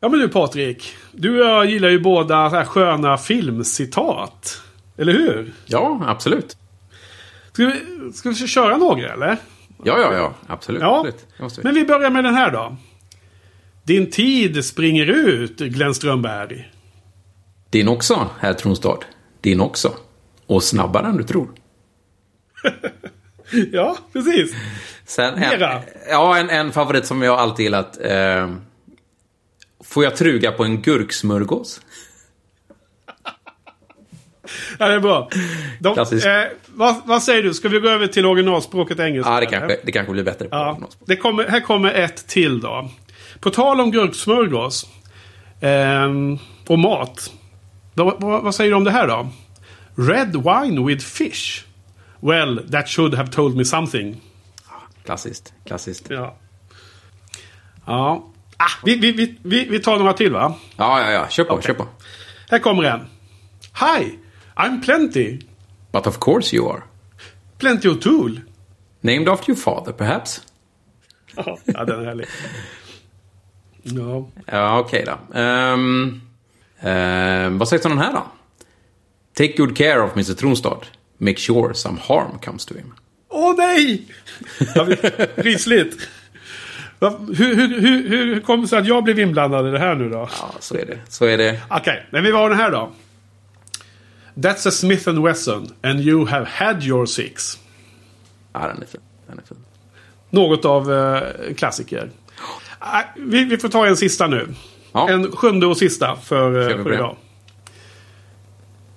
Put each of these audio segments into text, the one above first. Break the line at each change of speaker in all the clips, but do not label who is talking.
Ja men du Patrik. Du och jag gillar ju båda så här sköna filmcitat. Eller hur?
Ja, absolut.
Ska vi, ska vi köra några eller?
Ja, ja, ja. Absolut.
Ja.
absolut. Det måste vi.
Men vi börjar med den här då. Din tid springer ut, Glenn Strömberg.
Din också, herr Tronstad. Din också. Och snabbare än du tror.
Ja, precis.
Sen
Mera.
en, ja, en, en favorit som jag alltid gillat. Eh, får jag truga på en gurksmörgås?
Ja, det är bra. De,
Klassiskt.
eh, vad, vad säger du? Ska vi gå över till originalspråket engelska?
Ja, det
eller?
kanske, det kanske blir bättre. På
Ja,
något språk.
det kommer, här kommer ett till då. På tal om gurksmörgås ehm, och mat. Då, vad, vad säger du om det här då? Red wine with fish. Well, that should have told me something.
Ah, Klassiskt. Klassiskt. Ja,
Ja. Ja. Ah, vi, vi, vi, vi, vi tar några till va?
ja, ja. Kör på, kör på.
Här kommer en. Hi, I'm plenty.
But of course you are.
Plenty of tool.
Named after your father, perhaps?
Ja, den är härlig. Ja.
Ja, okej då. Ehm, ehm, vad sägs om den här då? Take good care of Mr Tronstad. Make sure some harm comes to him.
Åh nej! Ja, vi- Rysligt. Va- Hur, hur, hur, hur kom det sig att jag blev inblandad i det här nu då?
Ja, så är det. Så är det.
Okej, men vi var den här då. That's a Smith and Wesson and you have had your six.
Ja, den är fin. Den är fin.
Något av eh, klassiker. Ah, vi, vi får ta en sista nu.
Ja.
En sjunde och sista för,
Kör vi
eh,
på
för
det.
idag.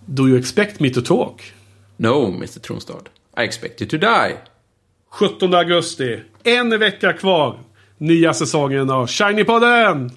Do you expect me to talk?
No, Mr Tronstad. I expect you to die.
17 augusti. En vecka kvar. Nya säsongen av Shiny-podden!